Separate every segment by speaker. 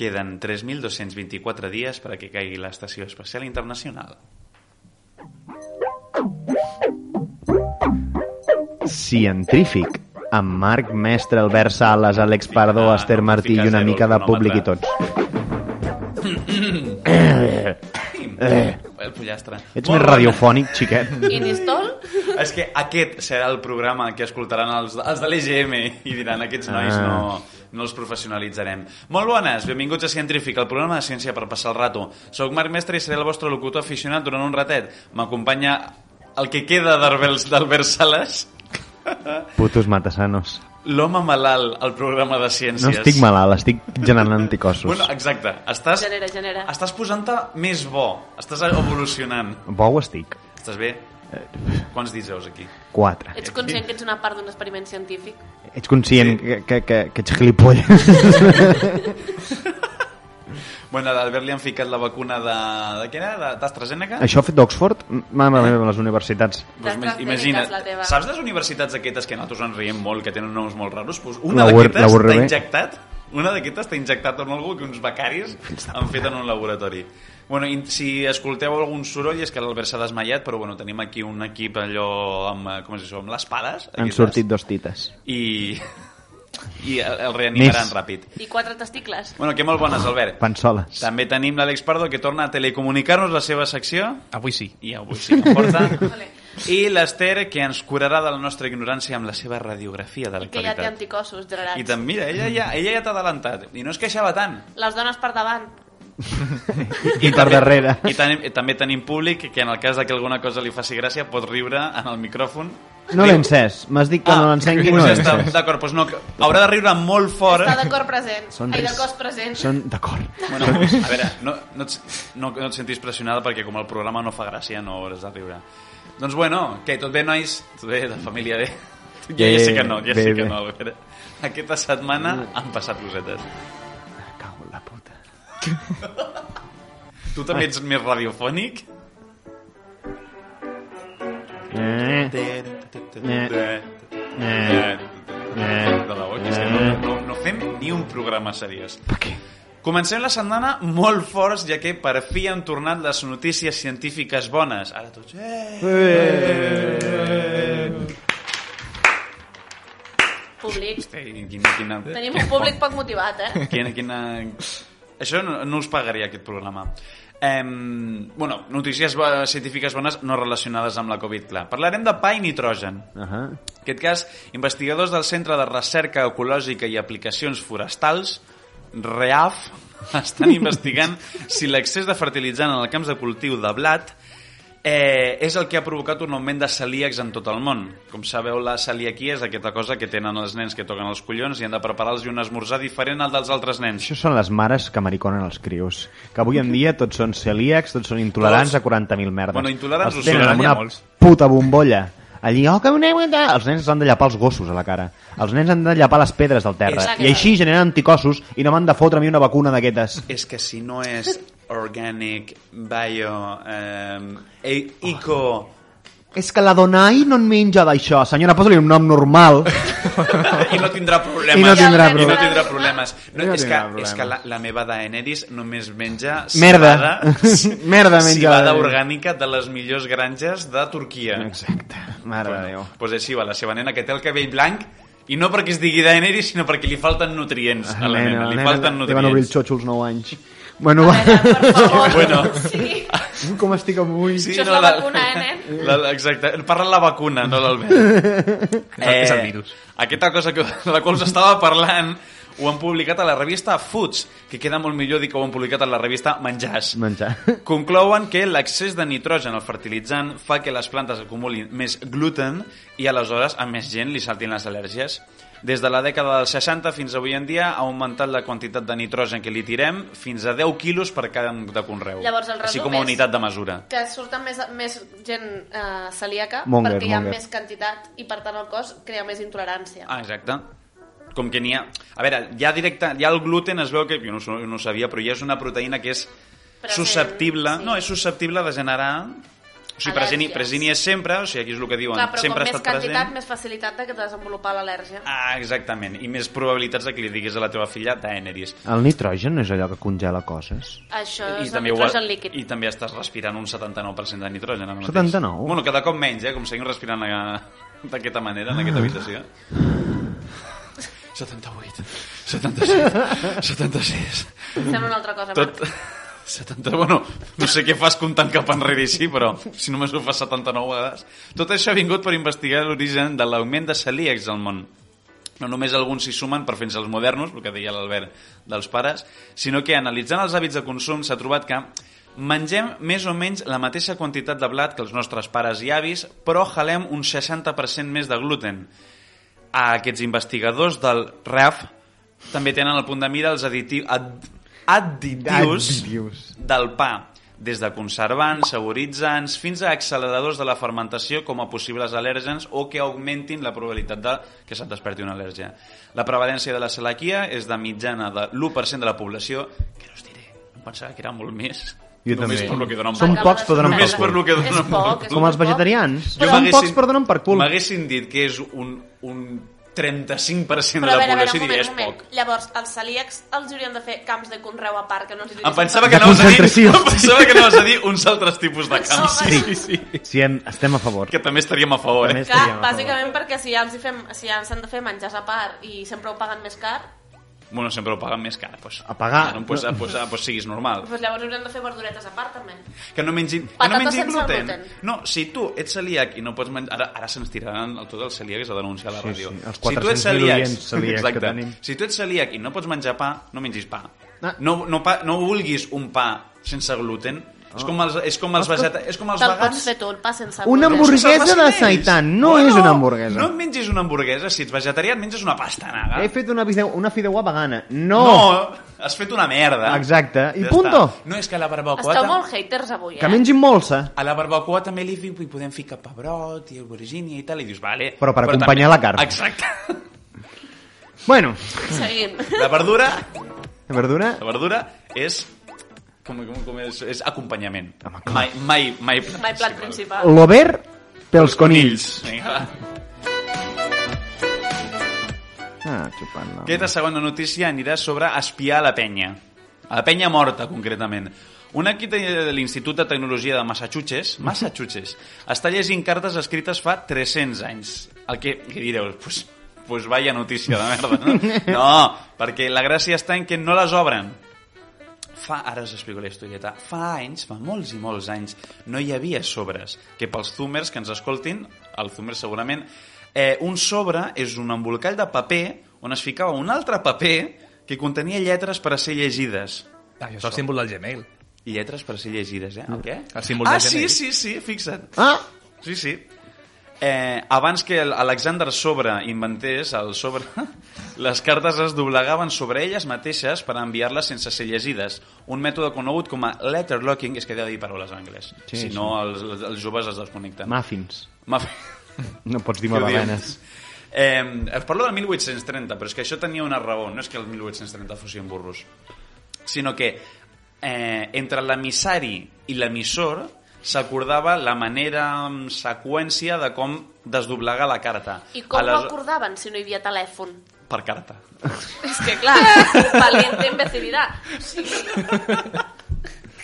Speaker 1: Queden 3.224 dies per a que caigui l'Estació Espacial Internacional.
Speaker 2: Científic, amb Marc Mestre, Albert Sales, Àlex Pardo,
Speaker 1: no,
Speaker 2: Esther
Speaker 1: Ah, no
Speaker 2: Martí i
Speaker 1: fiques
Speaker 2: una
Speaker 1: zero
Speaker 2: mica de
Speaker 1: al
Speaker 2: públic i
Speaker 1: cronòmetre.
Speaker 2: tots.
Speaker 1: Eh. El pollastre.
Speaker 2: Ets
Speaker 1: Molt
Speaker 2: més
Speaker 1: bona.
Speaker 2: radiofònic, xiquet.
Speaker 3: Inestol?
Speaker 1: És que aquest serà el programa que escoltaran els, els de l'EGM i diran aquests nois
Speaker 2: Ah.
Speaker 1: no, no els professionalitzarem. Molt bones, benvinguts a Científic, el programa de ciència per passar el rato. Soc Marc Mestre i seré el vostre locutor aficionat durant un ratet. M'acompanya el que queda d'Arbels- d'Albert Sales,
Speaker 2: Putos matasanos.
Speaker 1: l'home malalt al programa de ciències.
Speaker 2: No estic malalt, estic generant anticossos.
Speaker 1: Bueno, exacte. Estàs,
Speaker 3: Genera, genera.
Speaker 1: estàs posant-te més bo. Estàs evolucionant.
Speaker 2: Bou estic.
Speaker 1: Estàs bé? Quants dits veus aquí?
Speaker 2: Quatre.
Speaker 3: Ets conscient que ets una part d'un experiment científic?
Speaker 2: Ets conscient que, que, que, que ets gilipolles?
Speaker 1: Bueno, a l'Albert li han ficat la vacuna de... De què era? De- D'AstraZeneca?
Speaker 2: Això fet d'Oxford? Mama meva, les universitats.
Speaker 1: Doncs
Speaker 3: D'AstraZeneca és la teva.
Speaker 1: saps les universitats aquestes que nosaltres ens riem molt, que tenen noms molt raros? Pues una
Speaker 2: La UR- la
Speaker 1: d'aquestes
Speaker 2: URB.
Speaker 1: està injectat, una d'aquestes està injectat amb algú que uns becaris han fet en un laboratori. Bueno, i si escolteu algun soroll és que l'Albert s'ha desmaiat, però bueno, tenim aquí un equip allò amb, eh, com es diu, amb les pales.
Speaker 2: Han
Speaker 1: aquestes,
Speaker 2: sortit dos tites.
Speaker 1: I, i el, el reanimaran
Speaker 2: Més.
Speaker 1: ràpid.
Speaker 3: I quatre testicles?
Speaker 1: Bueno, que molt bones, Albert.
Speaker 2: Pansoles.
Speaker 1: També tenim l'Àlex Pardo, que torna a telecomunicar-nos la seva secció.
Speaker 4: Avui sí.
Speaker 1: I avui sí que em porta. I l'Ester, que ens curarà de la nostra ignorància amb la seva radiografia de
Speaker 3: I que ja té
Speaker 1: l'actualitat.
Speaker 3: anticossos
Speaker 1: I
Speaker 3: generats.
Speaker 1: també, mira, ella ja, ella ja t'ha adelantat. I no es queixava tant.
Speaker 3: Les dones per davant.
Speaker 2: I per darrere.
Speaker 1: I tenim, i també tenim públic que en el cas de que alguna cosa li faci gràcia pot riure en el micròfon.
Speaker 2: No l'he encès. M'has dit que no l'encengui, no
Speaker 1: doncs
Speaker 2: l'he
Speaker 1: ja està,
Speaker 2: encès.
Speaker 1: D'acord, doncs no, que haurà de riure molt fort.
Speaker 3: Està d'acord present.
Speaker 2: Són
Speaker 3: Ai, del
Speaker 2: ris-
Speaker 3: cos present.
Speaker 2: Són... D'acord.
Speaker 1: Bueno, a veure, no, no, et, no, no et sentis pressionada perquè com el programa no fa gràcia no hauràs de riure. Doncs bueno, que tot bé, nois? Tot bé, de família bé? Ja, ja sé que no, ja
Speaker 2: Bé,
Speaker 1: sé que
Speaker 2: bé.
Speaker 1: no, Albert. Aquesta setmana han passat cosetes.
Speaker 2: Me Cago en la puta.
Speaker 1: Tu també ets més radiofònic?
Speaker 2: Eh, Eh. eh, eh.
Speaker 1: De la boca, és que no, no, no fem ni un programa seriós.
Speaker 2: Per què?
Speaker 1: Comencem la setmana molt forts, ja que per fi han tornat les notícies científiques bones. Ara tots... Eh!
Speaker 3: Públic.
Speaker 1: Ei, quina, quina...
Speaker 3: Tenim un públic poc motivat, eh?
Speaker 1: Quina, quina... Això no, no us pagaria, aquest programa. Em, bueno, notícies bo- científiques bones no relacionades amb la Covid, clar. Parlarem de pa i nitrogen.
Speaker 2: Ahà.
Speaker 1: En aquest cas, investigadors del Centre de Recerca Ecològica i Aplicacions Forestals, REAF, estan investigant si l'excés de fertilitzant en els camps de cultiu de blat eh, és el que ha provocat un augment de celíacs en tot el món. Com sabeu, la celiaquia és aquesta cosa que tenen els nens que toquen els collons i han de preparar-los un esmorzar diferent al dels altres nens.
Speaker 2: Això són les mares que mariconen els crios. Que avui en dia tots són celíacs, tots són intolerants
Speaker 1: Tots.
Speaker 2: a 40.000 merdes.
Speaker 1: Bueno, intolerants ho
Speaker 2: els
Speaker 1: són,
Speaker 2: tenen amb
Speaker 1: n'hi ha
Speaker 2: una
Speaker 4: molts.
Speaker 2: puta bombolla. Allí, oh, que aneu, Els nens s'han de llapar els gossos a la cara. Els nens han de llapar les pedres del terra.
Speaker 3: Exacte.
Speaker 2: I així generen anticossos i no m'han de fotre a mi una vacuna d'aquestes.
Speaker 1: És que si no és organic, bio, eh, eco...
Speaker 2: És que la Donai no en menja d'això. Senyora, posa-li un nom normal.
Speaker 1: I no tindrà problemes.
Speaker 2: I no tindrà
Speaker 1: I no
Speaker 2: problemes.
Speaker 1: tindrà problemes. No,
Speaker 2: I no
Speaker 1: és, que,
Speaker 2: tindrà problemes.
Speaker 1: és que la, la meva Daenerys només menja
Speaker 2: Merda.
Speaker 1: cibada-
Speaker 2: Merda menja
Speaker 1: cibada
Speaker 2: Daenerys.
Speaker 1: orgànica de les millors granges de Turquia.
Speaker 2: Exacte. Mare de Déu.
Speaker 1: Doncs així va, la seva nena que té el cabell blanc i no perquè es digui Daenerys, sinó perquè li falten nutrients a la nena. Li falten
Speaker 2: li van obrir el
Speaker 1: nutrients.
Speaker 2: xotxo als 9 anys. Bueno,
Speaker 3: A veure, per favor.
Speaker 1: Bueno.
Speaker 3: Sí.
Speaker 2: com estic avui?
Speaker 3: Això és la vacuna, eh, nen?
Speaker 1: La, la- exacte, parla la vacuna, no l'Albert.
Speaker 4: és el virus.
Speaker 1: Aquesta cosa que, de la qual us estava parlant ho han publicat a la revista Foods, que queda molt millor dir que ho han publicat a la revista Menjars.
Speaker 2: Menjar.
Speaker 1: Conclouen que l'excés de nitrogen al fertilitzant fa que les plantes acumulin més gluten i aleshores a més gent li saltin les al·lèrgies. Des de la dècada dels 60 fins avui en dia ha augmentat la quantitat de nitrogen que li tirem fins a 10 quilos per cada de conreu.
Speaker 3: Llavors, el
Speaker 1: Així
Speaker 3: resum
Speaker 1: com a
Speaker 3: és-
Speaker 1: unitat de mesura.
Speaker 3: Que surten més, més gent eh, celíaca
Speaker 2: Monger,
Speaker 3: perquè hi ha
Speaker 2: monger.
Speaker 3: més quantitat i, per tant, el cos crea més intolerància.
Speaker 1: Ah, exacte. Com que n'hi ha... A veure, ja directe, ja el gluten es veu que... Jo no, ho- no ho sabia, però ja és una proteïna que és
Speaker 3: Present,
Speaker 1: susceptible...
Speaker 3: sí.
Speaker 1: No, és susceptible de generar O sigui, present, i-
Speaker 3: Al·lèrgies.
Speaker 1: present hi és sempre, o sigui, aquí és el que diuen,
Speaker 3: Clar, però
Speaker 1: sempre ha
Speaker 3: com més
Speaker 1: estat
Speaker 3: quantitat,
Speaker 1: present.
Speaker 3: més facilitat de que desenvolupar l'al·lèrgia.
Speaker 1: Ah, exactament, i més probabilitats de que li diguis a la teva filla Daenerys.
Speaker 2: El nitrogen no és allò que congela coses?
Speaker 3: Això és
Speaker 1: ho
Speaker 3: el
Speaker 1: ha-
Speaker 3: nitrogen líquid.
Speaker 1: I també estàs respirant un 79% de nitrogen. ara mateix.
Speaker 2: 79?
Speaker 1: Bueno, cada cop menys, eh? Com seguim respirant a- d'aquesta manera, en aquesta habitació. 78, 77, 76...
Speaker 3: Fem una altra cosa,
Speaker 1: Tot... 70, bueno, no sé què fas comptant cap enrere així, però si només ho fas 79 vegades. Tot això ha vingut per investigar l'origen de l'augment de celíacs al món. No només alguns s'hi sumen per fer-se els modernos, el que deia l'Albert dels pares, sinó que analitzant els hàbits de consum s'ha trobat que mengem més o menys la mateixa quantitat de blat que els nostres pares i avis, però jalem un 60% més de gluten. A aquests investigadors del RAF també tenen al punt de mira els aditi- ad- additius,
Speaker 2: Additius.
Speaker 1: del pa, des de conservants, saboritzants, fins a acceleradors de la fermentació com a possibles al·lèrgens o que augmentin la probabilitat de que se't desperti una al·lèrgia. La prevalència de la celiaquia és de mitjana de l'1% de la població, que no us diré, em pensava que era molt més.
Speaker 2: Jo
Speaker 1: Només
Speaker 2: també.
Speaker 1: per lo que donen
Speaker 2: Són
Speaker 1: per-
Speaker 2: pocs que donen
Speaker 1: Només
Speaker 2: per
Speaker 1: per
Speaker 2: cul.
Speaker 1: lo que
Speaker 3: És
Speaker 1: donen
Speaker 3: poc,
Speaker 1: per
Speaker 3: és
Speaker 1: cul.
Speaker 2: Com els vegetarians.
Speaker 3: Jo
Speaker 2: Són
Speaker 1: m'haguessin-
Speaker 2: pocs per donen per cul.
Speaker 1: M'haguessin dit que és un, un 35%
Speaker 3: Però
Speaker 1: de la
Speaker 3: a veure, a veure,
Speaker 1: població
Speaker 3: un
Speaker 1: diria
Speaker 3: moment,
Speaker 1: és
Speaker 3: un moment.
Speaker 1: poc.
Speaker 3: Llavors, els celíacs els haurien de fer camps de conreu a part, que no els hi
Speaker 1: Em
Speaker 3: diguessin-
Speaker 1: pensava que
Speaker 2: De
Speaker 1: anaves a dir,
Speaker 2: concentració.
Speaker 1: em pensava que anaves a dir uns altres tipus de camps.
Speaker 3: Sí,
Speaker 1: sí.
Speaker 2: Sí, en, estem a favor.
Speaker 1: Que també estaríem a favor,
Speaker 2: També
Speaker 1: eh?
Speaker 3: Clar,
Speaker 2: estaríem a favor.
Speaker 3: bàsicament perquè si ja els hi fem, si ja ens han de fer menjars a part i sempre ho paguen més car,
Speaker 1: Bueno, sempre ho paguen més car. Pues,
Speaker 2: A pagar.
Speaker 1: Bueno, doncs, pues, pues, pues, pues siguis normal.
Speaker 3: doncs llavors haurien de fer verduretes a part també.
Speaker 1: Que no mengin, que no
Speaker 3: Patates
Speaker 1: mengin
Speaker 3: sense
Speaker 1: gluten.
Speaker 3: gluten.
Speaker 1: No, si tu ets celíac i no pots menjar... Ara, ara se'ns tiraran el, tots els celíacs a denunciar a la
Speaker 2: Sí,
Speaker 1: ràdio.
Speaker 2: sí, els
Speaker 1: si tu ets
Speaker 2: 400.000
Speaker 1: celíac,
Speaker 2: oients celíacs que
Speaker 1: exacte.
Speaker 2: tenim.
Speaker 1: Si tu ets celíac i no pots menjar pa, no mengis pa.
Speaker 2: Ah.
Speaker 1: No, no, pa, no vulguis un pa sense gluten. És com els, és com els, vegeta, és com els
Speaker 3: Te'l pots
Speaker 1: vegans.
Speaker 3: fer tu, el pa sense
Speaker 2: Una Ah.
Speaker 3: gluten.
Speaker 2: hamburguesa
Speaker 1: Se'ls facin
Speaker 2: de
Speaker 1: ells.
Speaker 2: seitan, no és una hamburguesa.
Speaker 1: No et mengis una hamburguesa. Si ets vegetarià, et menges una pastanaga.
Speaker 2: He fet una, fideu, una fideuà vegana. No!
Speaker 1: Ah. No, has fet una merda.
Speaker 2: Exacte. I
Speaker 1: Ja
Speaker 2: punto.
Speaker 1: està. No, és que a la barbacoa...
Speaker 3: Esteu
Speaker 1: ta-
Speaker 3: molt haters avui, eh?
Speaker 2: Que mengin molsa.
Speaker 1: A la barbacoa també li fi- hi podem ficar pebrot i albergínia i tal, i dius, vale...
Speaker 2: Però per acompanyar la carn.
Speaker 1: Exacte.
Speaker 2: Bueno,
Speaker 3: Seguim.
Speaker 1: La verdura,
Speaker 2: verdura...
Speaker 1: la verdura és... Com, com, com és, és acompanyament.
Speaker 2: Home, clar.
Speaker 1: Mai, mai, mai, plat
Speaker 3: My plat principal.
Speaker 2: L'over pels conills.
Speaker 1: Vinga, va.
Speaker 2: Ah, xupant-la.
Speaker 1: Aquesta segona notícia anirà sobre espiar a la penya. A la penya morta, concretament. Un equip de l'Institut de Tecnologia de Massachusetts, Massachusetts està llegint cartes escrites fa 300 anys. El que, que direu, pues, pues vaya notícia de merda, no? No, perquè la gràcia està en que no les obren. Fa, ara us explico la historieta. Fa anys, fa molts i molts anys, no hi havia sobres. Que pels zoomers que ens escoltin, el zoomer segurament, eh, un sobre és un embolcall de paper on es ficava un altre paper que contenia lletres per a ser llegides.
Speaker 4: Ah, això és el símbol del Gmail.
Speaker 1: Lletres per a ser llegides, eh? El què?
Speaker 4: Mm. El símbol
Speaker 1: ah,
Speaker 4: de
Speaker 1: sí,
Speaker 4: Gmail.
Speaker 1: sí, sí, fixa't.
Speaker 2: Ah,
Speaker 1: Sí, sí. Eh, abans que el- Alexander Sobre inventés el sobre, les cartes es doblegaven sobre elles mateixes per enviar-les sense ser llegides. Un mètode conegut com a letterlocking, és que he de dir paraules en anglès,
Speaker 2: Sí,
Speaker 1: si
Speaker 2: sí.
Speaker 1: no els, els, els joves es desconnecten.
Speaker 2: muffins.
Speaker 1: Maf
Speaker 2: No pots dir
Speaker 1: Què ho diem?
Speaker 2: magdalenes.
Speaker 1: Eh, es parlo del 1830, però és que això tenia una raó. No és que el 1830 fossin burros, sinó que eh, entre l'emissari i l'emissor s'acordava la manera mm, seqüència de com desdoblegar la carta.
Speaker 3: I com
Speaker 1: Ales-
Speaker 3: ho acordaven si no hi havia telèfon?
Speaker 1: Per carta.
Speaker 3: És que, clar, valiente imbecilidad. O sigui,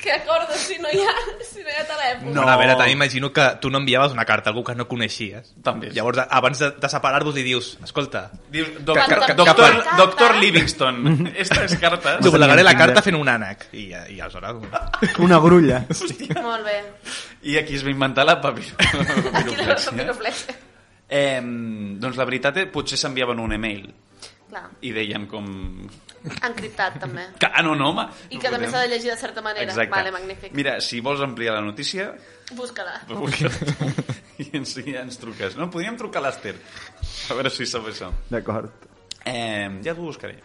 Speaker 3: què acordo si no hi ha, si no hi ha telèfon?
Speaker 4: No. Bueno, a veure, també imagino que tu no enviaves una carta a algú que no coneixies.
Speaker 1: També és.
Speaker 4: Llavors, abans de, de separar-vos li dius, escolta,
Speaker 1: Dius, doc,
Speaker 4: Que- que- que-
Speaker 1: doctor,
Speaker 3: que-
Speaker 1: doctor Livingston, aquestes cartes...
Speaker 4: doblegaré la
Speaker 2: Tinder.
Speaker 4: carta fent un ànec. I, ja- i aleshores...
Speaker 2: Una grulla.
Speaker 3: Molt bé.
Speaker 1: I aquí es va inventar la papir...
Speaker 3: Aquí la
Speaker 1: papiroflexia.
Speaker 3: papiroflexia.
Speaker 1: Eh, doncs la veritat és potser s'enviaven un email
Speaker 3: Clar,
Speaker 1: i deien com...
Speaker 3: encriptat també.
Speaker 1: Que, ah, no, no, home.
Speaker 3: I
Speaker 1: no
Speaker 3: que també
Speaker 1: podem.
Speaker 3: s'ha de llegir de certa manera.
Speaker 1: Exacte.
Speaker 3: Vale, magnífic.
Speaker 1: Mira, si vols ampliar la notícia,
Speaker 3: Busca-la.
Speaker 1: i ens, i ens truques. No, podríem trucar a l'Ester. A veure si sap això.
Speaker 2: D'acord.
Speaker 1: Eh, ja t'ho buscaré.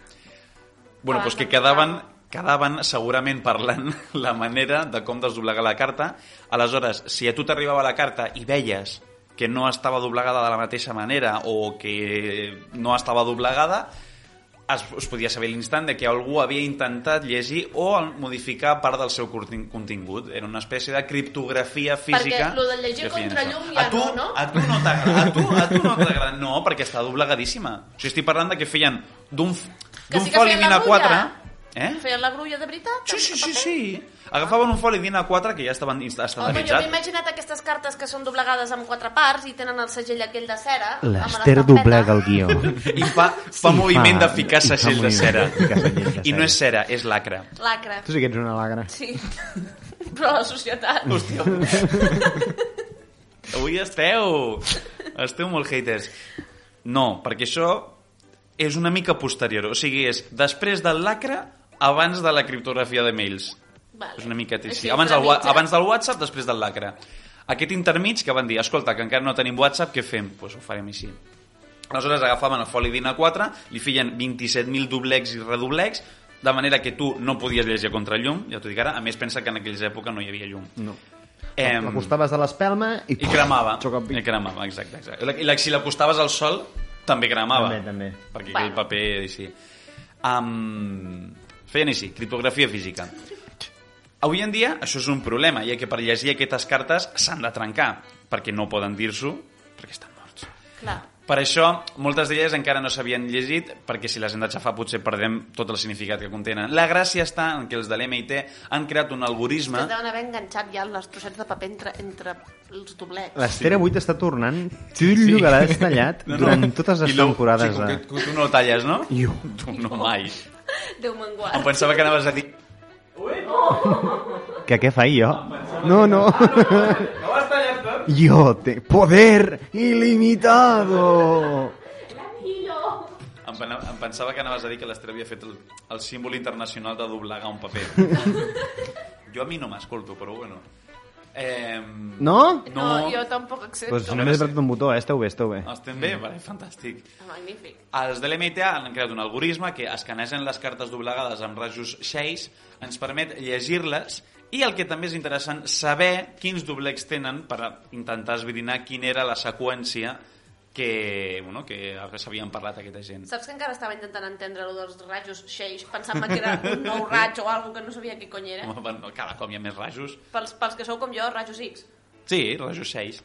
Speaker 1: Bueno,
Speaker 3: Abans
Speaker 1: doncs que
Speaker 3: de
Speaker 1: quedaven, quedaven segurament parlant la manera de com desdoblegar la carta. Aleshores, si a tu t'arribava la carta i veies que no estava doblegada de la mateixa manera o que no estava doblegada, es, es podia saber a l'instant de que algú havia intentat llegir o el- modificar part del seu contin- contingut. Era una espècie de criptografia física.
Speaker 3: Perquè lo de llegir
Speaker 1: que feien
Speaker 3: contra
Speaker 1: això.
Speaker 3: llum ja
Speaker 1: a tu,
Speaker 3: no, no?
Speaker 1: A tu no t'agrada. A tu, a tu no t'agrada. No, perquè està doblegadíssima. O sigui, estic parlant de que feien d'un f-
Speaker 3: Que
Speaker 1: d'un
Speaker 3: sí que
Speaker 1: foli
Speaker 3: feien la
Speaker 1: min a
Speaker 3: bulla.
Speaker 1: 4... Eh?
Speaker 3: Feien la grulla de veritat?
Speaker 1: Sí,
Speaker 3: amb
Speaker 1: sí, sí,
Speaker 3: paper?
Speaker 1: sí. Agafaven un foli din a 4 que ja estaven inst-
Speaker 3: Home, jo
Speaker 1: estandarditzat.
Speaker 3: m'he imaginat aquestes cartes que són doblegades en quatre parts i tenen el segell aquell de cera. amb la
Speaker 2: L'Ester
Speaker 3: estampeta.
Speaker 2: doblega el guió.
Speaker 1: I fa, fa
Speaker 2: Sí,
Speaker 1: moviment
Speaker 2: fa-
Speaker 1: de ficar
Speaker 2: i fa
Speaker 1: segells de
Speaker 2: moviment
Speaker 1: cera.
Speaker 2: de ficar segells de
Speaker 1: I no
Speaker 2: cera.
Speaker 1: és cera, és lacre.
Speaker 3: Lacre.
Speaker 2: Tu sí que ets una lagra.
Speaker 3: Sí. Però la societat...
Speaker 1: Hòstia. Avui esteu... Esteu molt haters. No, perquè això és una mica posterior. O sigui, és després del lacre, abans de la criptografia de mails.
Speaker 3: Vale.
Speaker 1: És una mica trist. Sí,
Speaker 3: Així,
Speaker 1: abans,
Speaker 3: una
Speaker 1: del, wa-
Speaker 3: mitja.
Speaker 1: abans del WhatsApp, després del lacre. Aquest intermig que van dir, escolta, que encara no tenim WhatsApp, què fem? Doncs pues ho farem així. Aleshores agafaven el foli d'Ina 4, li feien 27.000 doblecs i redoblecs, de manera que tu no podies llegir contra llum, ja t'ho dic ara. A més, pensa que en aquells època no hi havia llum.
Speaker 2: No.
Speaker 1: Em,
Speaker 2: L'acostaves a l'espelma i...
Speaker 1: I cremava.
Speaker 2: Xocapic.
Speaker 1: I cremava, exacte. exacte. I la- I la, si l'acostaves al sol, també cremava.
Speaker 2: També, també.
Speaker 1: Perquè aquell
Speaker 3: Bueno.
Speaker 1: paper, així. Um, feien així, criptografia física. Avui en dia això és un problema, ja que per llegir aquestes cartes s'han de trencar, perquè no poden dir-s'ho, perquè estan morts.
Speaker 3: Clar.
Speaker 1: Per això, moltes d'elles encara no s'havien llegit, perquè si les hem d'aixafar potser perdem tot el significat que contenen. La gràcia està en que els de l'MIT han creat un algoritme...
Speaker 3: Que deuen haver enganxat ja els trossets de paper entre, entre els doblets.
Speaker 2: L'Ester avui t'està tornant xullo sí. que l'has tallat no, no. durant totes les
Speaker 1: I lo-
Speaker 2: temporades.
Speaker 1: Sí, com
Speaker 2: de-
Speaker 1: que, tu- tu no el talles, no?
Speaker 2: Iu.
Speaker 1: Tu no mai.
Speaker 3: Déu me'n
Speaker 1: Em
Speaker 3: guard.
Speaker 1: pensava que anaves a dir...
Speaker 2: Que què faig jo? No, no.
Speaker 1: No vas tallar tot?
Speaker 2: Jo te... Poder ilimitado.
Speaker 1: Em, pena- em pensava que anaves a dir que l'Ester havia fet el, el símbol internacional de doblegar un paper. jo a mi no m'escolto, però bueno. Eh,
Speaker 2: No?
Speaker 3: No,
Speaker 1: No.
Speaker 3: jo tampoc accepto.
Speaker 2: Doncs
Speaker 3: Pues
Speaker 2: pues només he apretat un botó, eh? Esteu bé, esteu bé.
Speaker 1: Estem bé? Vale, fantàstic.
Speaker 3: Magnífic.
Speaker 1: Els de l'MIT han creat un algoritme que escanegen les cartes doblegades amb rajos xeis, ens permet llegir-les i el que també és interessant, saber quins doblecs tenen per intentar esbrinar quina era la seqüència que, bueno, que s'havien parlat aquesta gent.
Speaker 3: Saps que encara estava intentant entendre lo dels rajos xeix, pensant que era un nou raig o alguna que no sabia què cony era.
Speaker 1: Home, bueno, Cada cop hi ha més rajos.
Speaker 3: Pels, pels que sou com jo, rajos X.
Speaker 1: Sí, rajos xeis.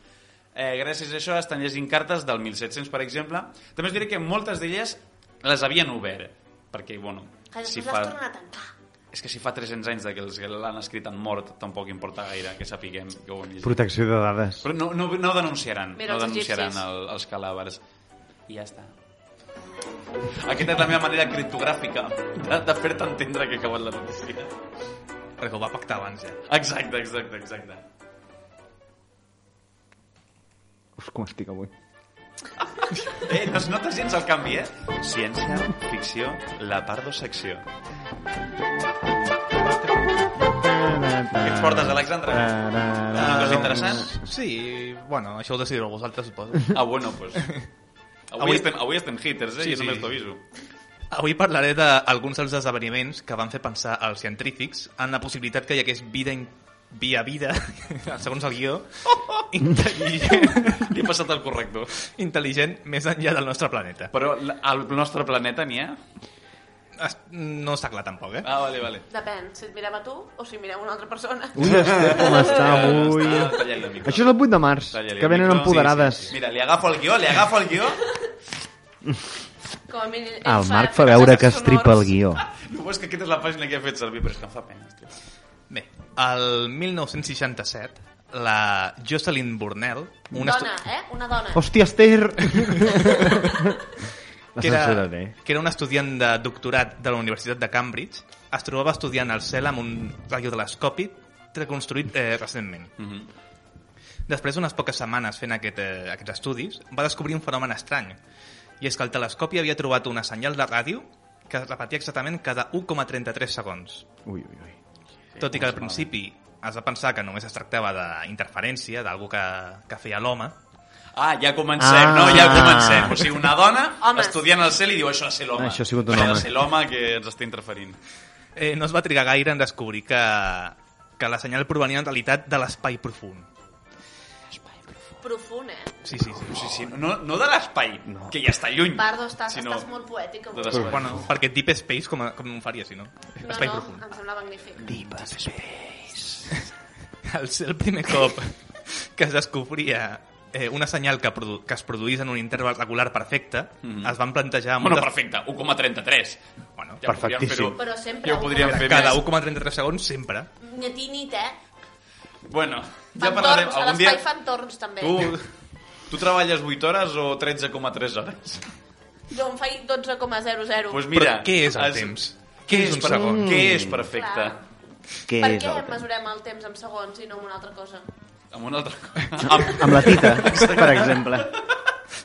Speaker 1: Eh, gràcies a això estan llegint cartes del 1700, per exemple. També us diré que moltes d'elles les havien obert, perquè, bueno...
Speaker 3: Que després les tornen a tancar.
Speaker 1: És que si fa 300 anys de que els que l'han escrit han mort, tampoc importa gaire que sapiguem que ho han llegit.
Speaker 2: Protecció de dades.
Speaker 1: Però no, no, no denunciaran, no
Speaker 3: Mira, els
Speaker 1: denunciaran
Speaker 3: egipcis.
Speaker 1: el, els cadàvers. I ja està. Aquesta és la meva manera criptogràfica de, de fer-te entendre que ha acabat la notícia.
Speaker 4: Perquè ho va pactar abans, ja.
Speaker 1: Exacte, exacte, exacte.
Speaker 2: Uf, com estic avui.
Speaker 1: Eh, no es nota gens el canvi, eh? Ciència, ficció, la part secció. Què ens portes, Alexandre? Una cosa interessant?
Speaker 4: Sí, bueno, això ho decidireu vosaltres, suposo.
Speaker 1: Ah, bueno, pues... Avui,
Speaker 4: Avui-
Speaker 1: estem, avui estem hitters, eh? Sí,
Speaker 4: Sí, sí.
Speaker 1: sí. Només t'aviso.
Speaker 4: Avui parlaré d'alguns dels esdeveniments que van fer pensar als científics en la possibilitat que hi hagués vida in... via vida, segons el guió,
Speaker 1: Oh,
Speaker 4: intel·ligent,
Speaker 1: Li he passat el corrector.
Speaker 4: intel·ligent més enllà del nostre planeta.
Speaker 1: Però la- al nostre planeta n'hi ha?
Speaker 4: Es- No està clar, tampoc, eh?
Speaker 1: Ah, vale, vale.
Speaker 3: Depèn, si et mirem a tu o si mirem una altra persona.
Speaker 2: Ui, Esther, com està avui?
Speaker 1: Eh, Està tallant el micro.
Speaker 2: Això és el 8 de març,
Speaker 1: Talla-li
Speaker 2: que
Speaker 1: el
Speaker 2: venen
Speaker 1: micro.
Speaker 2: empoderades.
Speaker 1: Sí, sí, sí. Mira, li agafo el guió, li agafo el guió.
Speaker 3: Com a mínim, ell
Speaker 2: El Marc fa
Speaker 3: efectes
Speaker 2: veure que estripa
Speaker 3: sonors.
Speaker 2: el guió.
Speaker 1: No veus que aquesta és la pàgina que he fet servir, però és que em fa pena. hòstia.
Speaker 4: Bé, el 1967, la Jocelyn Burnell, una, estu-
Speaker 3: Dona, eh? Una dona.
Speaker 2: Hòstia, Esther! La
Speaker 4: que era,
Speaker 2: censura té.
Speaker 4: que era un estudiant de doctorat de la Universitat de Cambridge, es trobava estudiant al cel amb un radiotelescopi reconstruït eh, recentment.
Speaker 1: Mhm.
Speaker 4: Després d'unes poques setmanes fent aquest, eh, aquests estudis, va descobrir un fenomen estrany, i és que el telescopi havia trobat una senyal de ràdio que es repetia exactament cada 1,33 segons.
Speaker 2: Ui, ui, ui.
Speaker 4: Tot i que al principi es va pensar que només es tractava d'interferència, d'algú que, que feia l'home,
Speaker 1: Ah, ja comencem,
Speaker 2: Ah.
Speaker 1: no? Ja comencem. O sigui, una dona
Speaker 3: Homes.
Speaker 1: estudiant al cel i diu això ha de ser l'home.
Speaker 2: Ah, Això ha sigut un
Speaker 1: Això ha
Speaker 2: home.
Speaker 1: de ser l'home que ens està interferint.
Speaker 4: eh, no es va trigar gaire en descobrir que, que la senyal provenia en realitat de l'espai profund.
Speaker 3: profund, eh?
Speaker 4: Sí, sí, sí.
Speaker 1: Sí, sí, no, no de l'espai, que ja està lluny.
Speaker 3: Pardo, estàs,
Speaker 1: sinó
Speaker 3: estàs molt poètic avui.
Speaker 1: de l'espai.
Speaker 4: Bueno, perquè Deep Space com, com ho faria, si no?
Speaker 3: No,
Speaker 4: Espai
Speaker 3: no,
Speaker 4: profund.
Speaker 3: em sembla magnífic.
Speaker 4: Al ser el primer cop que es descobria eh, una senyal que, produ que es produís en un interval regular perfecte, mm -hmm. es van plantejar...
Speaker 1: Ah, Bueno, perfecte, 1,33.
Speaker 4: Bueno,
Speaker 1: Ja podríem
Speaker 2: Perfectíssim.
Speaker 1: fer-ho.
Speaker 3: Però sempre
Speaker 1: Ja ho
Speaker 3: un
Speaker 1: podríem
Speaker 3: coma
Speaker 1: fer
Speaker 4: cada
Speaker 1: més.
Speaker 4: 1,33 segons sempre.
Speaker 3: Nyet i nit, eh?
Speaker 1: Bueno, ja
Speaker 3: Fan
Speaker 1: parlarem.
Speaker 3: torns, a
Speaker 1: Algun
Speaker 3: l'espai
Speaker 1: dia...
Speaker 3: fan torns, també.
Speaker 1: Tu, tu treballes 8 hores o 13,3 hores?
Speaker 3: Jo em faig 12,00.
Speaker 1: Doncs mira...
Speaker 4: Però què és el
Speaker 1: es-
Speaker 4: temps?
Speaker 1: Què és,
Speaker 4: un
Speaker 1: per...
Speaker 4: segon?
Speaker 1: què és perfecte?
Speaker 3: Clar.
Speaker 2: Què
Speaker 3: per
Speaker 2: és
Speaker 3: què
Speaker 2: el temps?
Speaker 3: mesurem el temps en segons i no en una altra cosa?
Speaker 1: Amb una altra cosa. Amb
Speaker 2: Amb la tita, per exemple.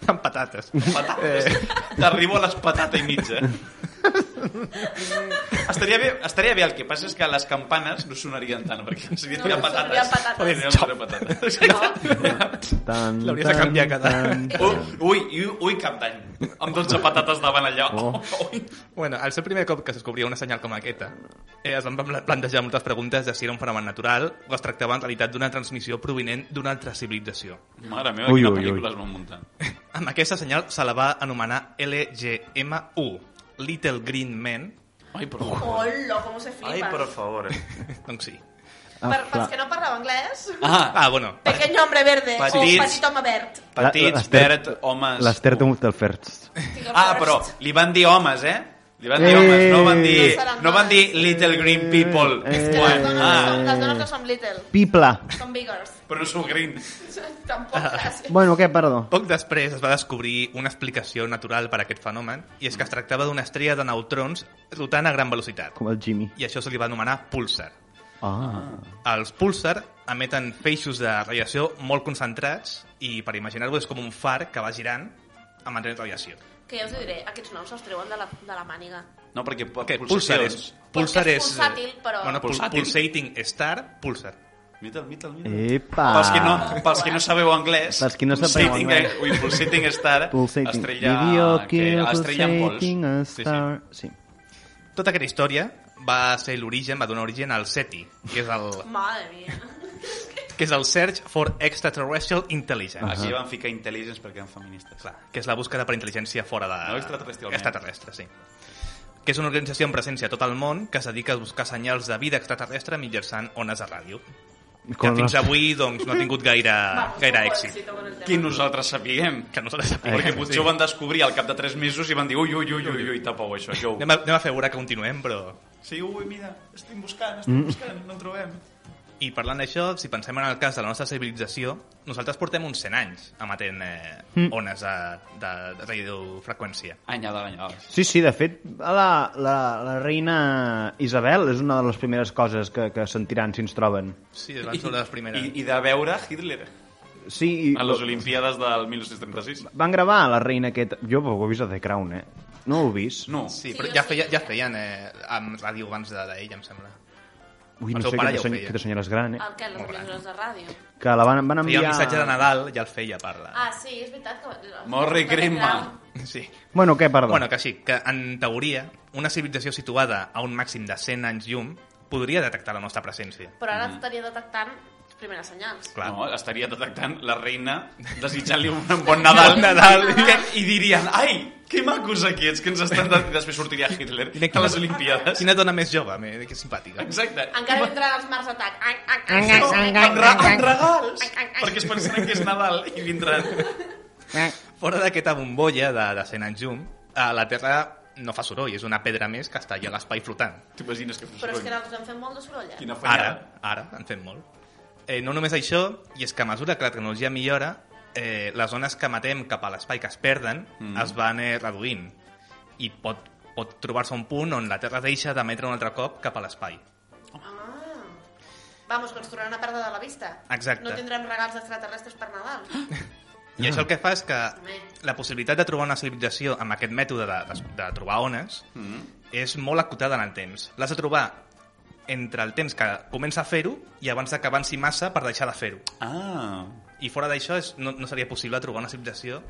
Speaker 4: Amb patates.
Speaker 1: patates. T'arribo a les patata i mitja. estaria, bé, estaria bé, el que passa és que les campanes no sonarien tant, perquè serien
Speaker 3: No,
Speaker 1: no,
Speaker 3: sonarien
Speaker 1: patates.
Speaker 3: patates.
Speaker 1: Serien patates.
Speaker 2: Tan,
Speaker 4: L'hauries de canviar cada-
Speaker 1: Ui, ui, ui, cap d'any. Amb 12 patates davant allà.
Speaker 2: Oh.
Speaker 1: Ui.
Speaker 4: Bueno, al ser primer cop que es descobria una senyal com aquesta, eh, es van pla- plantejar moltes preguntes de si era un fenomen natural o es tractava en realitat d'una transmissió provinent d'una altra civilització.
Speaker 1: Mare meva,
Speaker 2: Ui,
Speaker 1: quina
Speaker 2: ui, ui.
Speaker 1: pel·lícula es van muntar.
Speaker 4: Amb aquesta senyal se la va anomenar LGM1, Little Green Man.
Speaker 1: Ai, però...
Speaker 3: Hola, com se flipa.
Speaker 1: favor.
Speaker 4: Doncs sí.
Speaker 2: Ah,
Speaker 3: per, pels
Speaker 2: clar.
Speaker 3: que no parlen anglès,
Speaker 1: Ah,
Speaker 4: Ah, bueno.
Speaker 3: pequeño hombre verde,
Speaker 1: Petits.
Speaker 3: o petit home verd.
Speaker 2: La-
Speaker 1: petits,
Speaker 2: l'Ester-
Speaker 1: verd, homes...
Speaker 2: L'Ester de Mutterferst.
Speaker 3: Digue
Speaker 1: Ah,
Speaker 3: first.
Speaker 1: però li van dir homes, eh? Li van dir
Speaker 2: Eh.
Speaker 1: homes, no van
Speaker 2: No
Speaker 1: dir,
Speaker 3: seran
Speaker 1: no van dir
Speaker 3: homes.
Speaker 1: little green people.
Speaker 2: Eh.
Speaker 3: És que
Speaker 1: Bueno,
Speaker 3: les dones, no
Speaker 1: ah,
Speaker 3: som, les dones no som little,
Speaker 2: Pipla.
Speaker 3: som biggers.
Speaker 1: però no sou green.
Speaker 3: Tampoc,
Speaker 1: Ah.
Speaker 3: gràcies.
Speaker 2: Bueno, què, perdó?
Speaker 4: Poc després es va descobrir una explicació natural per a aquest fenomen, i és que es tractava d'una estrella de neutrons rotant a gran velocitat,
Speaker 2: Com el Jimmy.
Speaker 4: i això se li va anomenar púlsar.
Speaker 2: Ah.
Speaker 4: Els púlsar emeten feixos de radiació molt concentrats i, per imaginar-vos, és com un far que va girant emetent radiació.
Speaker 3: Que ja us ho diré, aquests noms se'ls treuen de la, de la màniga.
Speaker 1: No, perquè po-
Speaker 4: Què? Púlsar és...
Speaker 1: pulsacions.
Speaker 4: Púlsar
Speaker 3: Perquè és
Speaker 4: és... eh,
Speaker 3: pulsàtil, però-
Speaker 4: Bueno, pul
Speaker 1: Pulsàtil.
Speaker 4: pulsating star, púlsar.
Speaker 1: Mital, mital, mital.
Speaker 2: Epa.
Speaker 1: Pels que, no, pels que no sabeu anglès,
Speaker 2: Pels que no sabeu
Speaker 1: pulsating,
Speaker 2: anglès.
Speaker 1: eh, Ui, pulsating star,
Speaker 2: Pulsating.
Speaker 1: estrella,
Speaker 2: Video
Speaker 1: que,
Speaker 2: kill,
Speaker 1: estrella en pols.
Speaker 2: pulsating a
Speaker 4: Sí, sí.
Speaker 2: star. Sí, sí.
Speaker 4: Tota aquesta història va ser l'origen, va donar origen al SETI, que és el,
Speaker 3: Madre mia.
Speaker 4: que és el Search for Extraterrestrial Intelligence.
Speaker 2: Ah.
Speaker 1: Aquí
Speaker 2: Ahà.
Speaker 1: van ficar intel·ligents perquè eren feministes.
Speaker 4: Clar, que és la búsqueda per intel·ligència fora de...
Speaker 1: No extraterrestre,
Speaker 4: Extraterrestre, sí. Que és una organització amb presència a tot el món que es dedica a buscar senyals de vida extraterrestre mitjançant ones de ràdio. Que
Speaker 2: Com
Speaker 4: fins
Speaker 2: la-
Speaker 4: avui doncs, no ha tingut gaire,
Speaker 1: Ah,
Speaker 3: Vamos,
Speaker 4: gaire
Speaker 3: un
Speaker 4: èxit.
Speaker 3: pobrecito con el tema.
Speaker 1: Que nosaltres sapiguem.
Speaker 4: Que nosaltres sapiguem.
Speaker 1: Perquè potser ho van descobrir al cap de 3 mesos i van dir ui, ui, ui, ui, ui, tapeu això, jo ho
Speaker 4: Anem a, anem a fer veure que continuem, però...
Speaker 1: Sí, ui, mira, estic buscant,
Speaker 4: Mm.
Speaker 1: estic buscant, no el trobem.
Speaker 4: I parlant d'això, si pensem en el cas de la nostra civilització, nosaltres portem uns 100 anys emetent eh, ones de, de, de radiofreqüència.
Speaker 1: Anyada, anyada.
Speaker 2: Sí, sí, de fet, la, la, la reina Isabel és una de les primeres coses que, que sentiran si ens troben.
Speaker 4: Sí, es van sobre les primeres.
Speaker 1: I, I de veure Hitler
Speaker 2: Sí, i
Speaker 1: a les Olimpiades del 1936.
Speaker 2: van gravar la reina aquest... Jo ho he vist a The Crown, eh? No ho he vist?
Speaker 1: No.
Speaker 4: Sí,
Speaker 3: Sí,
Speaker 4: però
Speaker 3: jo
Speaker 4: ja,
Speaker 3: sí.
Speaker 4: feia, ja feien eh, amb ràdio abans de- d'ell, em sembla.
Speaker 2: Ui,
Speaker 4: El
Speaker 2: no
Speaker 4: seu
Speaker 2: sé,
Speaker 4: pare
Speaker 2: que
Speaker 4: ja ho
Speaker 2: te
Speaker 4: feia.
Speaker 2: que te senyores gran, eh?
Speaker 3: El que, les
Speaker 4: Molt gran.
Speaker 3: emissores de ràdio.
Speaker 2: Que la van, van
Speaker 4: Feia
Speaker 2: enviar...
Speaker 4: el missatge de Nadal, ja el feia, parla.
Speaker 3: Ah, sí, és veritat que...
Speaker 1: Morri Grimma.
Speaker 4: Sí.
Speaker 2: Bueno, què, perdó?
Speaker 4: Bueno, que sí, que en teoria, una civilització situada a un màxim de 100 anys llum podria detectar la nostra presència.
Speaker 3: Però ara estaria detectant les primeres senyals.
Speaker 4: Clar.
Speaker 1: No, estaria detectant la reina desitjant-li un bon Nadal,
Speaker 4: Bon Nadal.
Speaker 1: I que, i dirien, ai, que macos aquests que ens estan... De... I després sortiria Hitler
Speaker 4: Mira
Speaker 1: a
Speaker 4: quina-
Speaker 1: les Olimpiades.
Speaker 4: Quina dona més jove, me- que simpàtica.
Speaker 1: Exacte.
Speaker 3: Encara vindran els mars atac. Ai, ai, ai.
Speaker 5: Vinga,
Speaker 1: No,
Speaker 5: vinga,
Speaker 1: amb, ra amb
Speaker 5: vinga.
Speaker 1: regals, perquè es pensaran que és Nadal i vindran.
Speaker 4: Fora d'aquesta bombolla de, de 100 anys llum, a la Terra no fa soroll, és una pedra més que està allà a l'espai flotant.
Speaker 1: T'imagines que fos
Speaker 3: Però és que
Speaker 1: soroll?
Speaker 3: nosaltres hem fet molt de soroll, eh?
Speaker 1: Quina fallada.
Speaker 4: Ara, ara, en fem molt. Eh, no només això, i és que a mesura que la tecnologia millora, eh, les zones que matem cap a l'espai que es perden
Speaker 1: Mm.
Speaker 4: mm. es van eh, reduint i pot, pot trobar-se un punt on la Terra deixa d'emetre un altre cop cap a l'espai.
Speaker 3: Ah. Vamos, que ens tornaran a perdre de la vista.
Speaker 4: Exacte.
Speaker 3: No tindrem regals extraterrestres per Nadal.
Speaker 4: I
Speaker 1: Ah.
Speaker 4: això el que fa és que
Speaker 3: Home.
Speaker 4: la possibilitat de trobar una civilització amb aquest mètode de, de, de trobar ones
Speaker 1: Mm.
Speaker 4: és molt acotada en el temps. L'has de trobar entre el temps que comença a fer-ho i abans que avanci massa per deixar de fer-ho.
Speaker 1: Ah.
Speaker 4: I fora d'això és- no, no seria possible trobar una civilització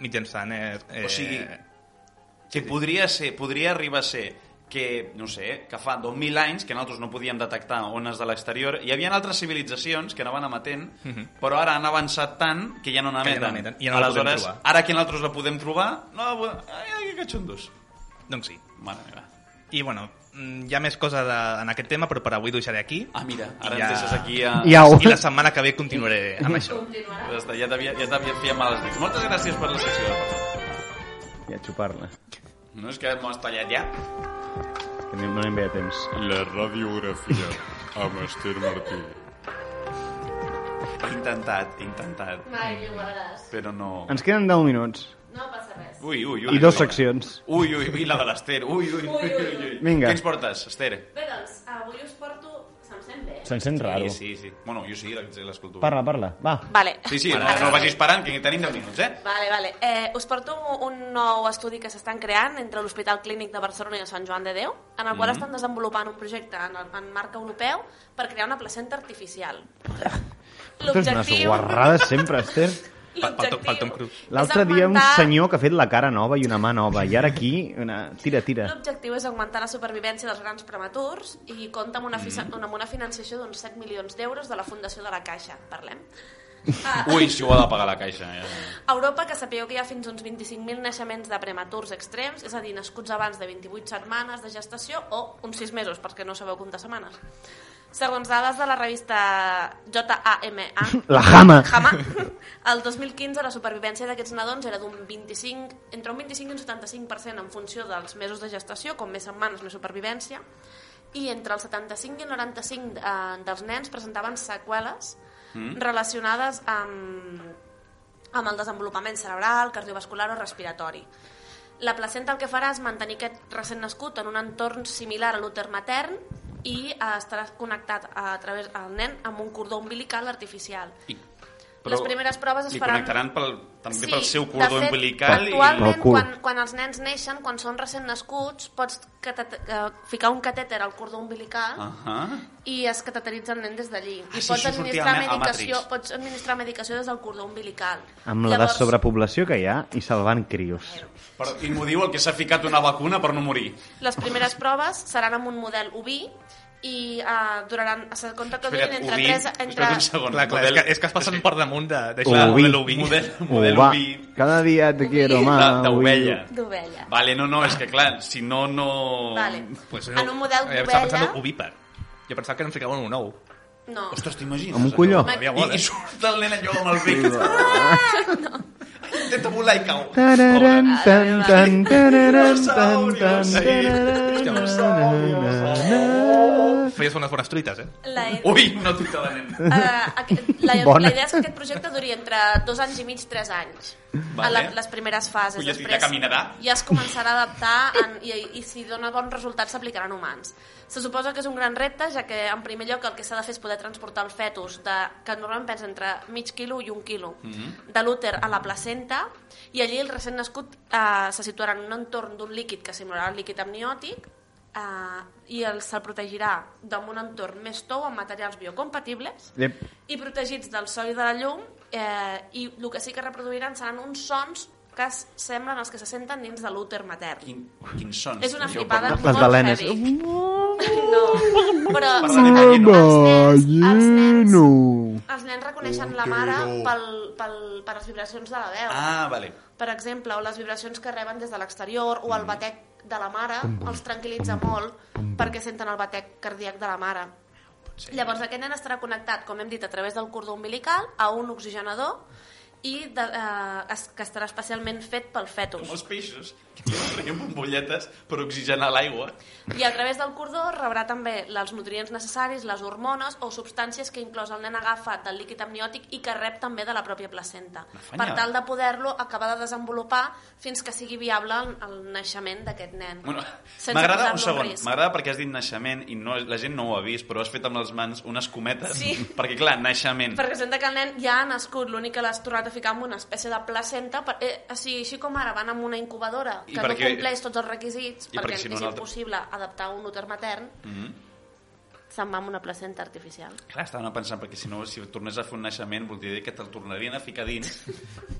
Speaker 4: mitjançant... Eh, eh,
Speaker 1: O sigui, Que podria ser, podria arribar a ser que, no sé, que fa 2.000 anys que nosaltres no podíem detectar ones de l'exterior. Hi havia altres civilitzacions que anaven emetent, però ara han avançat tant Mhm. que ja no
Speaker 4: Que ja no
Speaker 1: n'emeten.
Speaker 4: n'emeten, i ja no la podem
Speaker 1: Aleshores,
Speaker 4: trobar.
Speaker 1: ara que nosaltres la podem trobar, no la podem... Ai, que xundos.
Speaker 4: Doncs sí.
Speaker 1: Mare meva.
Speaker 4: I, bueno, mm, hi ha més cosa de, en aquest tema, però per avui ho deixaré aquí.
Speaker 1: Ah, mira, ara
Speaker 4: I
Speaker 1: ja... ens deixes aquí a...
Speaker 2: I au.
Speaker 4: I la setmana que ve continuaré amb això.
Speaker 3: Continuarà.
Speaker 1: Ja està, ja t'havia ja t'havia fiat mal als dits. Moltes gràcies per la secció de Pablo.
Speaker 2: I a xupar-la.
Speaker 1: No és que m'ho has tallat ja?
Speaker 2: Que no anem bé a temps.
Speaker 5: La radiografia amb Esther Martí.
Speaker 1: He intentat, he intentat,
Speaker 3: Mai lliuraràs.
Speaker 1: però no...
Speaker 2: Ens queden 10 minuts
Speaker 3: No passa res.
Speaker 1: Ui, ui, ui.
Speaker 2: i dues
Speaker 1: ui.
Speaker 2: seccions.
Speaker 1: Ui, ui, ui, la de l'Ester. Ui, ui, ui, ui, ui.
Speaker 2: Vinga.
Speaker 1: Què ens portes, Ester?
Speaker 3: Bé, doncs, avui us porto... Se'm sent bé?
Speaker 6: Se'n sent raro.
Speaker 1: Sí, sí, sí. Bueno, jo sí, l'escolto.
Speaker 2: Parla, parla, va.
Speaker 3: Vale.
Speaker 1: Sí, sí, no, no vagis parant, que tenim 10 minuts, eh?
Speaker 3: Vale, vale. Eh, us porto un nou estudi que s'estan creant entre l'Hospital Clínic de Barcelona i el Sant Joan de Déu, en el qual
Speaker 2: Mhm.
Speaker 3: estan desenvolupant un projecte en, el, en marc europeu per crear una placenta artificial.
Speaker 2: Totes unes guarrades sempre, Esther.
Speaker 4: Pel- pel Tom- pel Tom Cruise.
Speaker 3: és
Speaker 2: L'altre dia un
Speaker 3: augmentar-
Speaker 2: senyor que ha fet la cara nova i una mà nova, i ara aquí, una... tira, tira.
Speaker 3: L'objectiu és augmentar la supervivència dels grans prematurs i compta amb una, fisa-
Speaker 2: Mhm.
Speaker 3: amb una financiació d'uns 7 milions d'euros de la Fundació de la Caixa, parlem. Ah,
Speaker 1: Ui, si ho ha de pagar la caixa. Ja.
Speaker 3: A Europa, que sapigueu que hi ha fins a uns 25.000 naixements de prematurs extrems, és a dir, nascuts abans de 28 setmanes de gestació o uns 6 mesos, perquè no sabeu comptar setmanes. Segons dades de la revista JAMA,
Speaker 2: La jama!
Speaker 3: Jama, el 2015 la supervivència d'aquests nadons era d'un 25, entre un 25 i un 75% en funció dels mesos de gestació, com més setmanes més supervivència, i entre el 75 i el 95 eh, dels nens presentaven seqüeles mm. relacionades amb, amb el desenvolupament cerebral, cardiovascular o respiratori. La placenta el que farà és mantenir aquest recent nascut en un entorn similar a l'úter matern i eh, estarà connectat a través del nen amb un cordó umbilical artificial.
Speaker 1: I,
Speaker 3: Les primeres proves es
Speaker 1: li
Speaker 3: faran-
Speaker 1: connectaran pel, també
Speaker 3: Sí,
Speaker 1: pel seu cordó
Speaker 3: de fet,
Speaker 1: umbilical
Speaker 2: Pel
Speaker 3: Actualment,
Speaker 2: cul.
Speaker 3: quan, quan els nens neixen, quan són recent nascuts, pots catet eh, ficar un catèter al cordó umbilical
Speaker 1: i... Ahà.
Speaker 3: i es cateteritza el nen des d'allí.
Speaker 1: Ah,
Speaker 3: I
Speaker 1: sí,
Speaker 3: pots
Speaker 1: això sortia
Speaker 3: administrar,
Speaker 1: al Ma- a
Speaker 3: medicació,
Speaker 1: Matrix.
Speaker 3: pots administrar medicació des del cordó umbilical.
Speaker 2: Amb la
Speaker 3: Llavors,
Speaker 2: desobrepoblació que hi ha i salvant crios.
Speaker 1: Però, I m'ho diu el que s'ha ficat una vacuna per no morir.
Speaker 3: Les primeres proves seran amb un model oví i eh, duraran, se compta que durin entre
Speaker 1: oví,
Speaker 3: 3... Entre...
Speaker 1: espera't un segon.
Speaker 4: Clar, clar, és
Speaker 1: model-
Speaker 4: que, és que es passen per damunt de... de
Speaker 2: Clar, Oví.
Speaker 4: model oví.
Speaker 1: Model, model
Speaker 2: Ova,
Speaker 1: oví.
Speaker 2: cada dia te quiero
Speaker 1: de-
Speaker 2: más.
Speaker 1: d'ovella.
Speaker 3: D'ovella.
Speaker 1: Vale, no, no, és que clar, si no, no...
Speaker 3: Vale.
Speaker 4: Pues,
Speaker 3: en un model
Speaker 1: eh,
Speaker 4: Jo estava pensant
Speaker 3: d'ovella...
Speaker 4: ovíper. Jo pensava que en ficaven un ou.
Speaker 3: No.
Speaker 1: Ostres, t'imagines?
Speaker 2: Amb un colló.
Speaker 1: això?
Speaker 4: Todavía vol,
Speaker 1: I,
Speaker 4: eh?
Speaker 1: I surt el nen allò amb el bec. Intenta volar i cau.
Speaker 2: Tararan, tan, tan, tararan, tan, tan,
Speaker 1: Sí.
Speaker 2: tararan,
Speaker 4: Hòstia,
Speaker 2: na, na, na.
Speaker 4: Feies unes bones truites, eh?
Speaker 3: La... E
Speaker 1: Ui, una tuita de nen.
Speaker 3: Eh, aquest- la,
Speaker 2: Bona.
Speaker 3: la idea és que aquest projecte duri entre dos anys i mig, tres anys.
Speaker 1: Vale.
Speaker 3: A la, les primeres fases.
Speaker 1: Ui, ja- ja caminarà.
Speaker 3: Ja es començarà a adaptar en, i, i si dona bons resultats s'aplicaran humans. Se suposa que és un gran repte, ja que en primer lloc el que s'ha de fer és poder transportar el fetus, de, que normalment pensa entre mig quilo i un quilo, mm -hmm. de l'úter a la placenta, i allí el recent nascut eh, se situarà en un entorn d'un líquid que simularà el líquid amniòtic, eh, i el, se'l protegirà d'un un entorn més tou amb materials biocompatibles,
Speaker 2: Ep,
Speaker 3: i protegits del sol i de la llum eh, i el que sí que reproduiran seran uns sons que es- semblen els que se senten dins de l'úter matern.
Speaker 1: Quin, quins sons?
Speaker 3: És una flipada
Speaker 2: Les
Speaker 3: molt
Speaker 2: balenes.
Speaker 3: heavy. No, però els,
Speaker 1: Parlarem de
Speaker 3: els, nens, els, nens,
Speaker 2: Ballino.
Speaker 3: els nens reconeixen la mare pel, pel, per les vibracions de la veu.
Speaker 1: Ah, vale.
Speaker 3: Per exemple, o les vibracions que reben des de l'exterior o el batec de la mare els tranquil·litza molt perquè senten el batec cardíac de la mare. Llavors aquest nen estarà connectat, com hem dit, a través del cordó umbilical a un oxigenador i de, eh, es, que estarà especialment fet pel fetus.
Speaker 1: Com els peixos, que treien bombolletes per oxigenar l'aigua.
Speaker 3: I a través del cordó rebrà també els nutrients necessaris, les hormones o substàncies que inclòs el nen agafa del líquid amniòtic i que rep també de la pròpia placenta,
Speaker 1: fanya.
Speaker 3: per tal de poder-lo acabar de desenvolupar fins que sigui viable el, el naixement d'aquest nen.
Speaker 1: Bueno,
Speaker 3: sense
Speaker 1: m'agrada
Speaker 3: posar-lo
Speaker 1: un
Speaker 3: en
Speaker 1: segon,
Speaker 3: risc.
Speaker 1: m'agrada perquè has dit naixement i no, la gent no ho ha vist, però has fet amb les mans unes cometes,
Speaker 3: Sí.
Speaker 1: perquè clar, naixement.
Speaker 3: Perquè senta que el nen ja ha nascut, l'únic que l'has tornat a ficar en una espècie de placenta, per, eh, o sigui, així com ara van amb una incubadora
Speaker 1: I
Speaker 3: que no
Speaker 1: perquè-
Speaker 3: compleix tots els requisits,
Speaker 1: i perquè
Speaker 3: perquè,
Speaker 1: si no
Speaker 3: és
Speaker 1: un altre-
Speaker 3: impossible adaptar un úter matern,
Speaker 1: Mm -hmm.
Speaker 3: se'n va amb una placenta artificial.
Speaker 1: Clar, estàvem pensant, perquè si no, si tornés a fer un naixement, voldria dir que te'l tornarien a ficar dins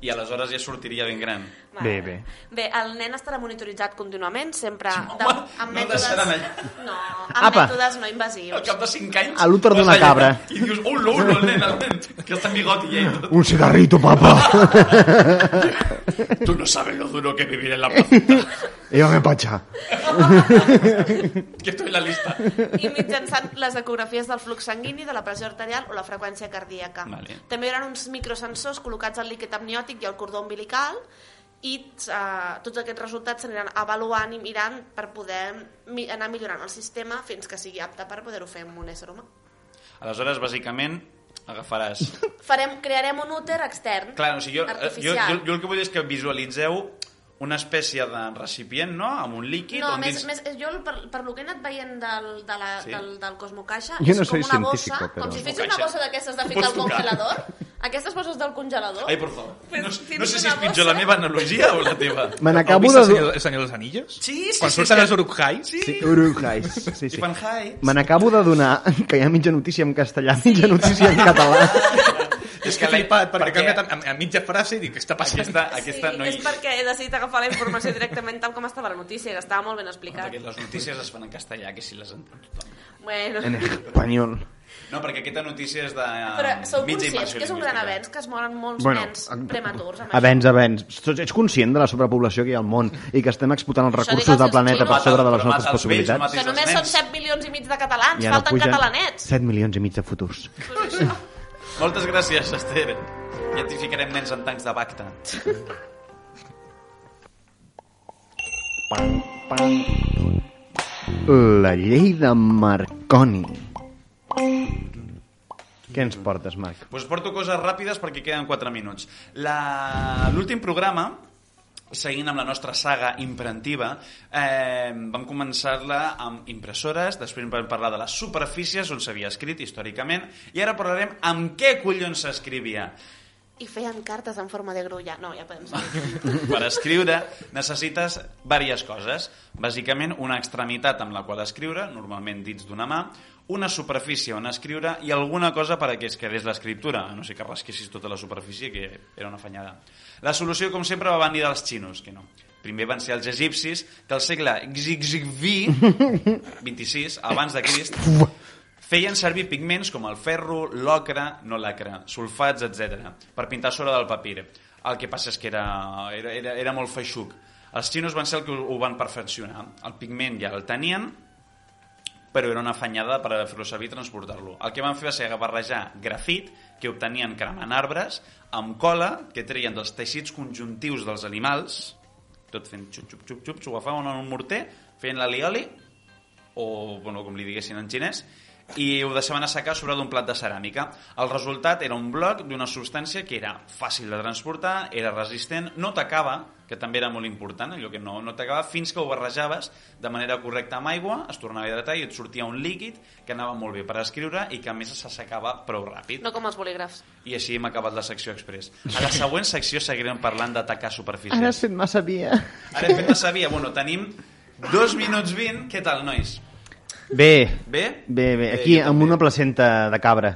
Speaker 1: i aleshores ja sortiria ben gran.
Speaker 2: Bé, bé.
Speaker 3: Bé, el nen estarà monitoritzat continuament, sempre
Speaker 1: Sí, home, no deixaran allà.
Speaker 3: No, amb
Speaker 2: Apa.
Speaker 3: mètodes no
Speaker 1: Al
Speaker 3: invasius.
Speaker 1: cap de 5 anys...
Speaker 2: A l'úter d'una
Speaker 1: vas allà
Speaker 2: cabra.
Speaker 1: I dius, oh, no, no, el nen, el nen, que està en bigoti ja i tot.
Speaker 2: Un cigarrito, papá.
Speaker 1: Tu no sabes lo duro que es vivir en la plaza.
Speaker 2: Yo me pacha.
Speaker 1: Que estoy en la lista.
Speaker 3: I mitjançant les ecografies del flux sanguini, de la pressió arterial o la freqüència cardíaca.
Speaker 1: Vale.
Speaker 3: També hi haurà uns microsensors col·locats al líquid amniòtic i al cordó umbilical i eh, tots aquests resultats s'aniran avaluant i mirant per poder mi anar millorant el sistema fins que sigui apte per poder-ho fer amb un ésser humà.
Speaker 1: Aleshores, bàsicament, agafaràs...
Speaker 3: Farem, crearem un úter extern
Speaker 1: Clar, o sigui, jo, eh, jo,
Speaker 3: artificial.
Speaker 1: jo, jo el que vull és que visualitzeu una espècie de recipient, no?, amb un líquid...
Speaker 3: No,
Speaker 1: on
Speaker 3: més,
Speaker 1: doncs, dins...
Speaker 3: més, eh, jo el- per, per lo que he anat veient del, de la,
Speaker 1: Sí.
Speaker 3: sí. del, del Cosmocaixa
Speaker 2: Jo
Speaker 3: és
Speaker 2: no
Speaker 3: com
Speaker 2: soy
Speaker 3: una
Speaker 2: científico,
Speaker 3: bossa,
Speaker 2: però-
Speaker 3: com si fes una
Speaker 1: Cosmocaixa.
Speaker 3: bossa d'aquestes de
Speaker 1: Ho
Speaker 3: ficar
Speaker 1: pots
Speaker 3: al
Speaker 1: tocar.
Speaker 3: congelador aquestes bosses del congelador
Speaker 1: Ai, per favor.
Speaker 3: Pues
Speaker 1: No, no
Speaker 3: tens
Speaker 1: sé si
Speaker 3: una
Speaker 1: és pitjor la
Speaker 3: bossa.
Speaker 1: meva analogia o la teva.
Speaker 2: Me
Speaker 4: Heu
Speaker 2: n'acabo
Speaker 4: vist el
Speaker 2: de...
Speaker 4: senyor, el senyor dels anillos?
Speaker 1: Sí, sí,
Speaker 4: Quan
Speaker 1: sí,
Speaker 4: surten
Speaker 1: és que-
Speaker 4: els urukhais?
Speaker 2: Sí, Uruguai. Sí,
Speaker 1: Sí.
Speaker 2: sí.
Speaker 1: I fan hi.
Speaker 2: Me n'acabo de donar que hi ha mitja notícia en castellà, mitja notícia en català.
Speaker 4: És que l'he flipat, perquè canvia tant a, a mitja frase i dic, què està passant?
Speaker 1: Aquesta, aquesta
Speaker 3: sí,
Speaker 1: no hi...
Speaker 3: és perquè he decidit agafar la informació directament tal com estava la notícia, que estava molt ben explicat.
Speaker 1: Perquè les notícies es fan en castellà, que si les entén tothom.
Speaker 3: Bueno,
Speaker 2: En espanyol.
Speaker 1: No, perquè aquesta notícia és de...
Speaker 3: però sou
Speaker 1: mitja
Speaker 3: conscients
Speaker 1: immersió
Speaker 3: que és un gran
Speaker 1: lingüística.
Speaker 3: avenç, que es moren molts
Speaker 2: Bueno,
Speaker 3: nens prematurs amb
Speaker 2: Avenç, avenç. Tots- Ets conscient de la sobrepoblació que hi ha al món i que estem explotant els
Speaker 3: Això
Speaker 2: recursos
Speaker 3: digues
Speaker 2: del
Speaker 3: als
Speaker 2: planeta per
Speaker 3: xinos.
Speaker 2: sobre de les
Speaker 1: Però mata
Speaker 2: nostres
Speaker 1: els vells, no
Speaker 2: possibilitats?
Speaker 1: mata-
Speaker 3: això. Que només
Speaker 1: Els
Speaker 3: són
Speaker 1: nens.
Speaker 3: 7 milions i mig de catalans,
Speaker 2: I
Speaker 3: ja
Speaker 2: ara
Speaker 3: falten
Speaker 2: pugen
Speaker 3: catalanets.
Speaker 2: 7 milions i mig de futurs.
Speaker 1: Moltes gràcies, Esther. Ja t'hi ficarem nens en tancs de bacta.
Speaker 2: Pam, pam. La llei de Marconi. Què ens portes, Marc?
Speaker 1: Pues porto coses ràpides perquè queden 4 minuts. La- L'últim programa, seguint amb la nostra saga imprentiva, eh, vam començar-la amb impressores, després vam parlar de les superfícies on s'havia escrit històricament, i ara parlarem amb què collons s'escrivia.
Speaker 3: I feien cartes en forma de grulla. No, ja podem seguir.
Speaker 1: per escriure necessites diverses coses. Bàsicament, una extremitat amb la qual escriure, normalment dits d'una mà, una superfície on escriure i alguna cosa per a que es quedés l'escriptura, a no sé que rasquessis tota la superfície, que era una fanyada. La solució, com sempre, va venir dels xinos, que no. Primer van ser els egipcis, que al segle XXV, 26, abans de Crist, feien servir pigments com el ferro, l'ocre, no l'acre, sulfats, etc., per pintar sobre del papir. El que passa és que era, era, era, era molt feixuc. Els xinos van ser els que ho ho van perfeccionar. El pigment ja el tenien, però era una afanyada per fer-lo servir i transportar-lo. El que van fer va ser barrejar grafit, que obtenien cremant arbres, amb cola, que treien dels teixits conjuntius dels animals, tot fent xup, xup, xup, xup, s'ho agafaven en un morter, feien l'alioli, o bueno, com li diguessin en xinès, i ho deixaven assecar sobre d'un plat de ceràmica. El resultat era un bloc d'una substància que era fàcil de transportar, era resistent, no t'acaba, que també era molt important, allò que no, no t'acaba, fins que ho barrejaves de manera correcta amb aigua, es tornava a hidratar i et sortia un líquid que anava molt bé per escriure i que a més s'assecava prou ràpid.
Speaker 3: No com els bolígrafs.
Speaker 1: I així hem acabat la secció express. A la següent secció seguirem parlant d'atacar superfícies.
Speaker 2: Ara has fet massa via.
Speaker 1: Ara hem fet la sabia. Bueno, tenim dos minuts 20. Què tal, nois?
Speaker 2: Bé,
Speaker 1: Bé? Eh,
Speaker 2: bé, bé. Aquí,
Speaker 1: jo
Speaker 2: amb
Speaker 1: també.
Speaker 2: una placenta de cabra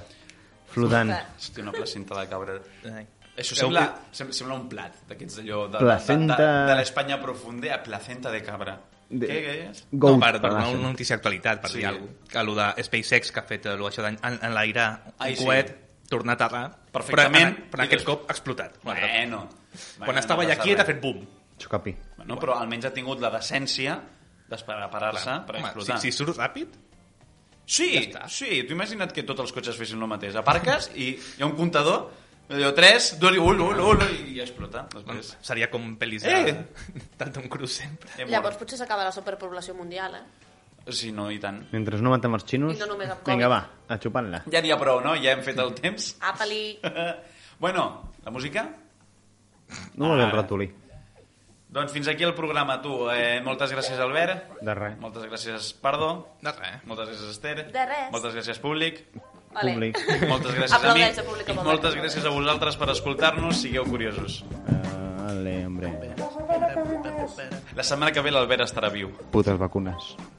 Speaker 2: flotant.
Speaker 1: Hòstia, una placenta de cabra.
Speaker 4: Ai.
Speaker 1: Això
Speaker 4: Heu
Speaker 1: sembla,
Speaker 4: vist-
Speaker 1: sem sembla un plat d'aquests d'allò de,
Speaker 2: Placenta-
Speaker 1: de, de, de l'Espanya profunda, a placenta de cabra.
Speaker 2: De-
Speaker 1: Què, què és?
Speaker 2: Goat.
Speaker 4: no, per, per una,
Speaker 2: placenta.
Speaker 4: una notícia d'actualitat, per
Speaker 1: Sí.
Speaker 4: sí. dir alguna cosa. Que Allò de SpaceX que ha fet allò, això d'enlairar
Speaker 1: Ai,
Speaker 4: en
Speaker 1: sí.
Speaker 4: un coet, tornar a aterrar,
Speaker 1: Perfectament.
Speaker 4: però, en, però
Speaker 1: I
Speaker 4: en aquest
Speaker 1: després-
Speaker 4: cop ha explotat. un altre cop.
Speaker 1: Bueno.
Speaker 4: Quan estava allà quiet ha fet boom.
Speaker 2: Xocapi.
Speaker 1: No, però almenys ha tingut la decència d'esperar-se per
Speaker 4: Home,
Speaker 1: explotar.
Speaker 4: si, si surt ràpid,
Speaker 1: Sí, ja està. sí, t'ho imagina't que tots els cotxes fessin el mateix. Aparques i hi ha un comptador, allò 3, 2, ul, ul, ul, i explota. Després.
Speaker 4: doncs seria com pel·lis
Speaker 1: Eh!
Speaker 4: de, de Tom Cruise sempre.
Speaker 1: He
Speaker 3: Llavors
Speaker 1: mort.
Speaker 3: potser s'acaba la superpoblació mundial, eh?
Speaker 1: Sí, no, i tant.
Speaker 2: Mentre no matem els xinos...
Speaker 3: I no només amb Covid.
Speaker 2: Vinga, va, a xupar-la.
Speaker 1: Ja n'hi ha prou, no? Ja hem fet el temps.
Speaker 3: Apali.
Speaker 1: bueno, la música?
Speaker 2: No vols el ratolí.
Speaker 1: Doncs fins aquí el programa, tu. Eh, moltes gràcies, Albert.
Speaker 2: De res.
Speaker 1: Moltes gràcies, Pardo.
Speaker 4: De res.
Speaker 1: Moltes gràcies, Esther.
Speaker 3: De res.
Speaker 1: Moltes gràcies, públic.
Speaker 3: Vale.
Speaker 2: Públic.
Speaker 1: Moltes gràcies a mi.
Speaker 3: Aplaudeix al públic,
Speaker 1: I
Speaker 3: aplaudeix.
Speaker 1: moltes gràcies a vosaltres per escoltar-nos. Sigueu curiosos.
Speaker 2: Ah, Ale, hombre.
Speaker 1: La setmana que ve l'Albert estarà viu.
Speaker 2: Putes vacunes.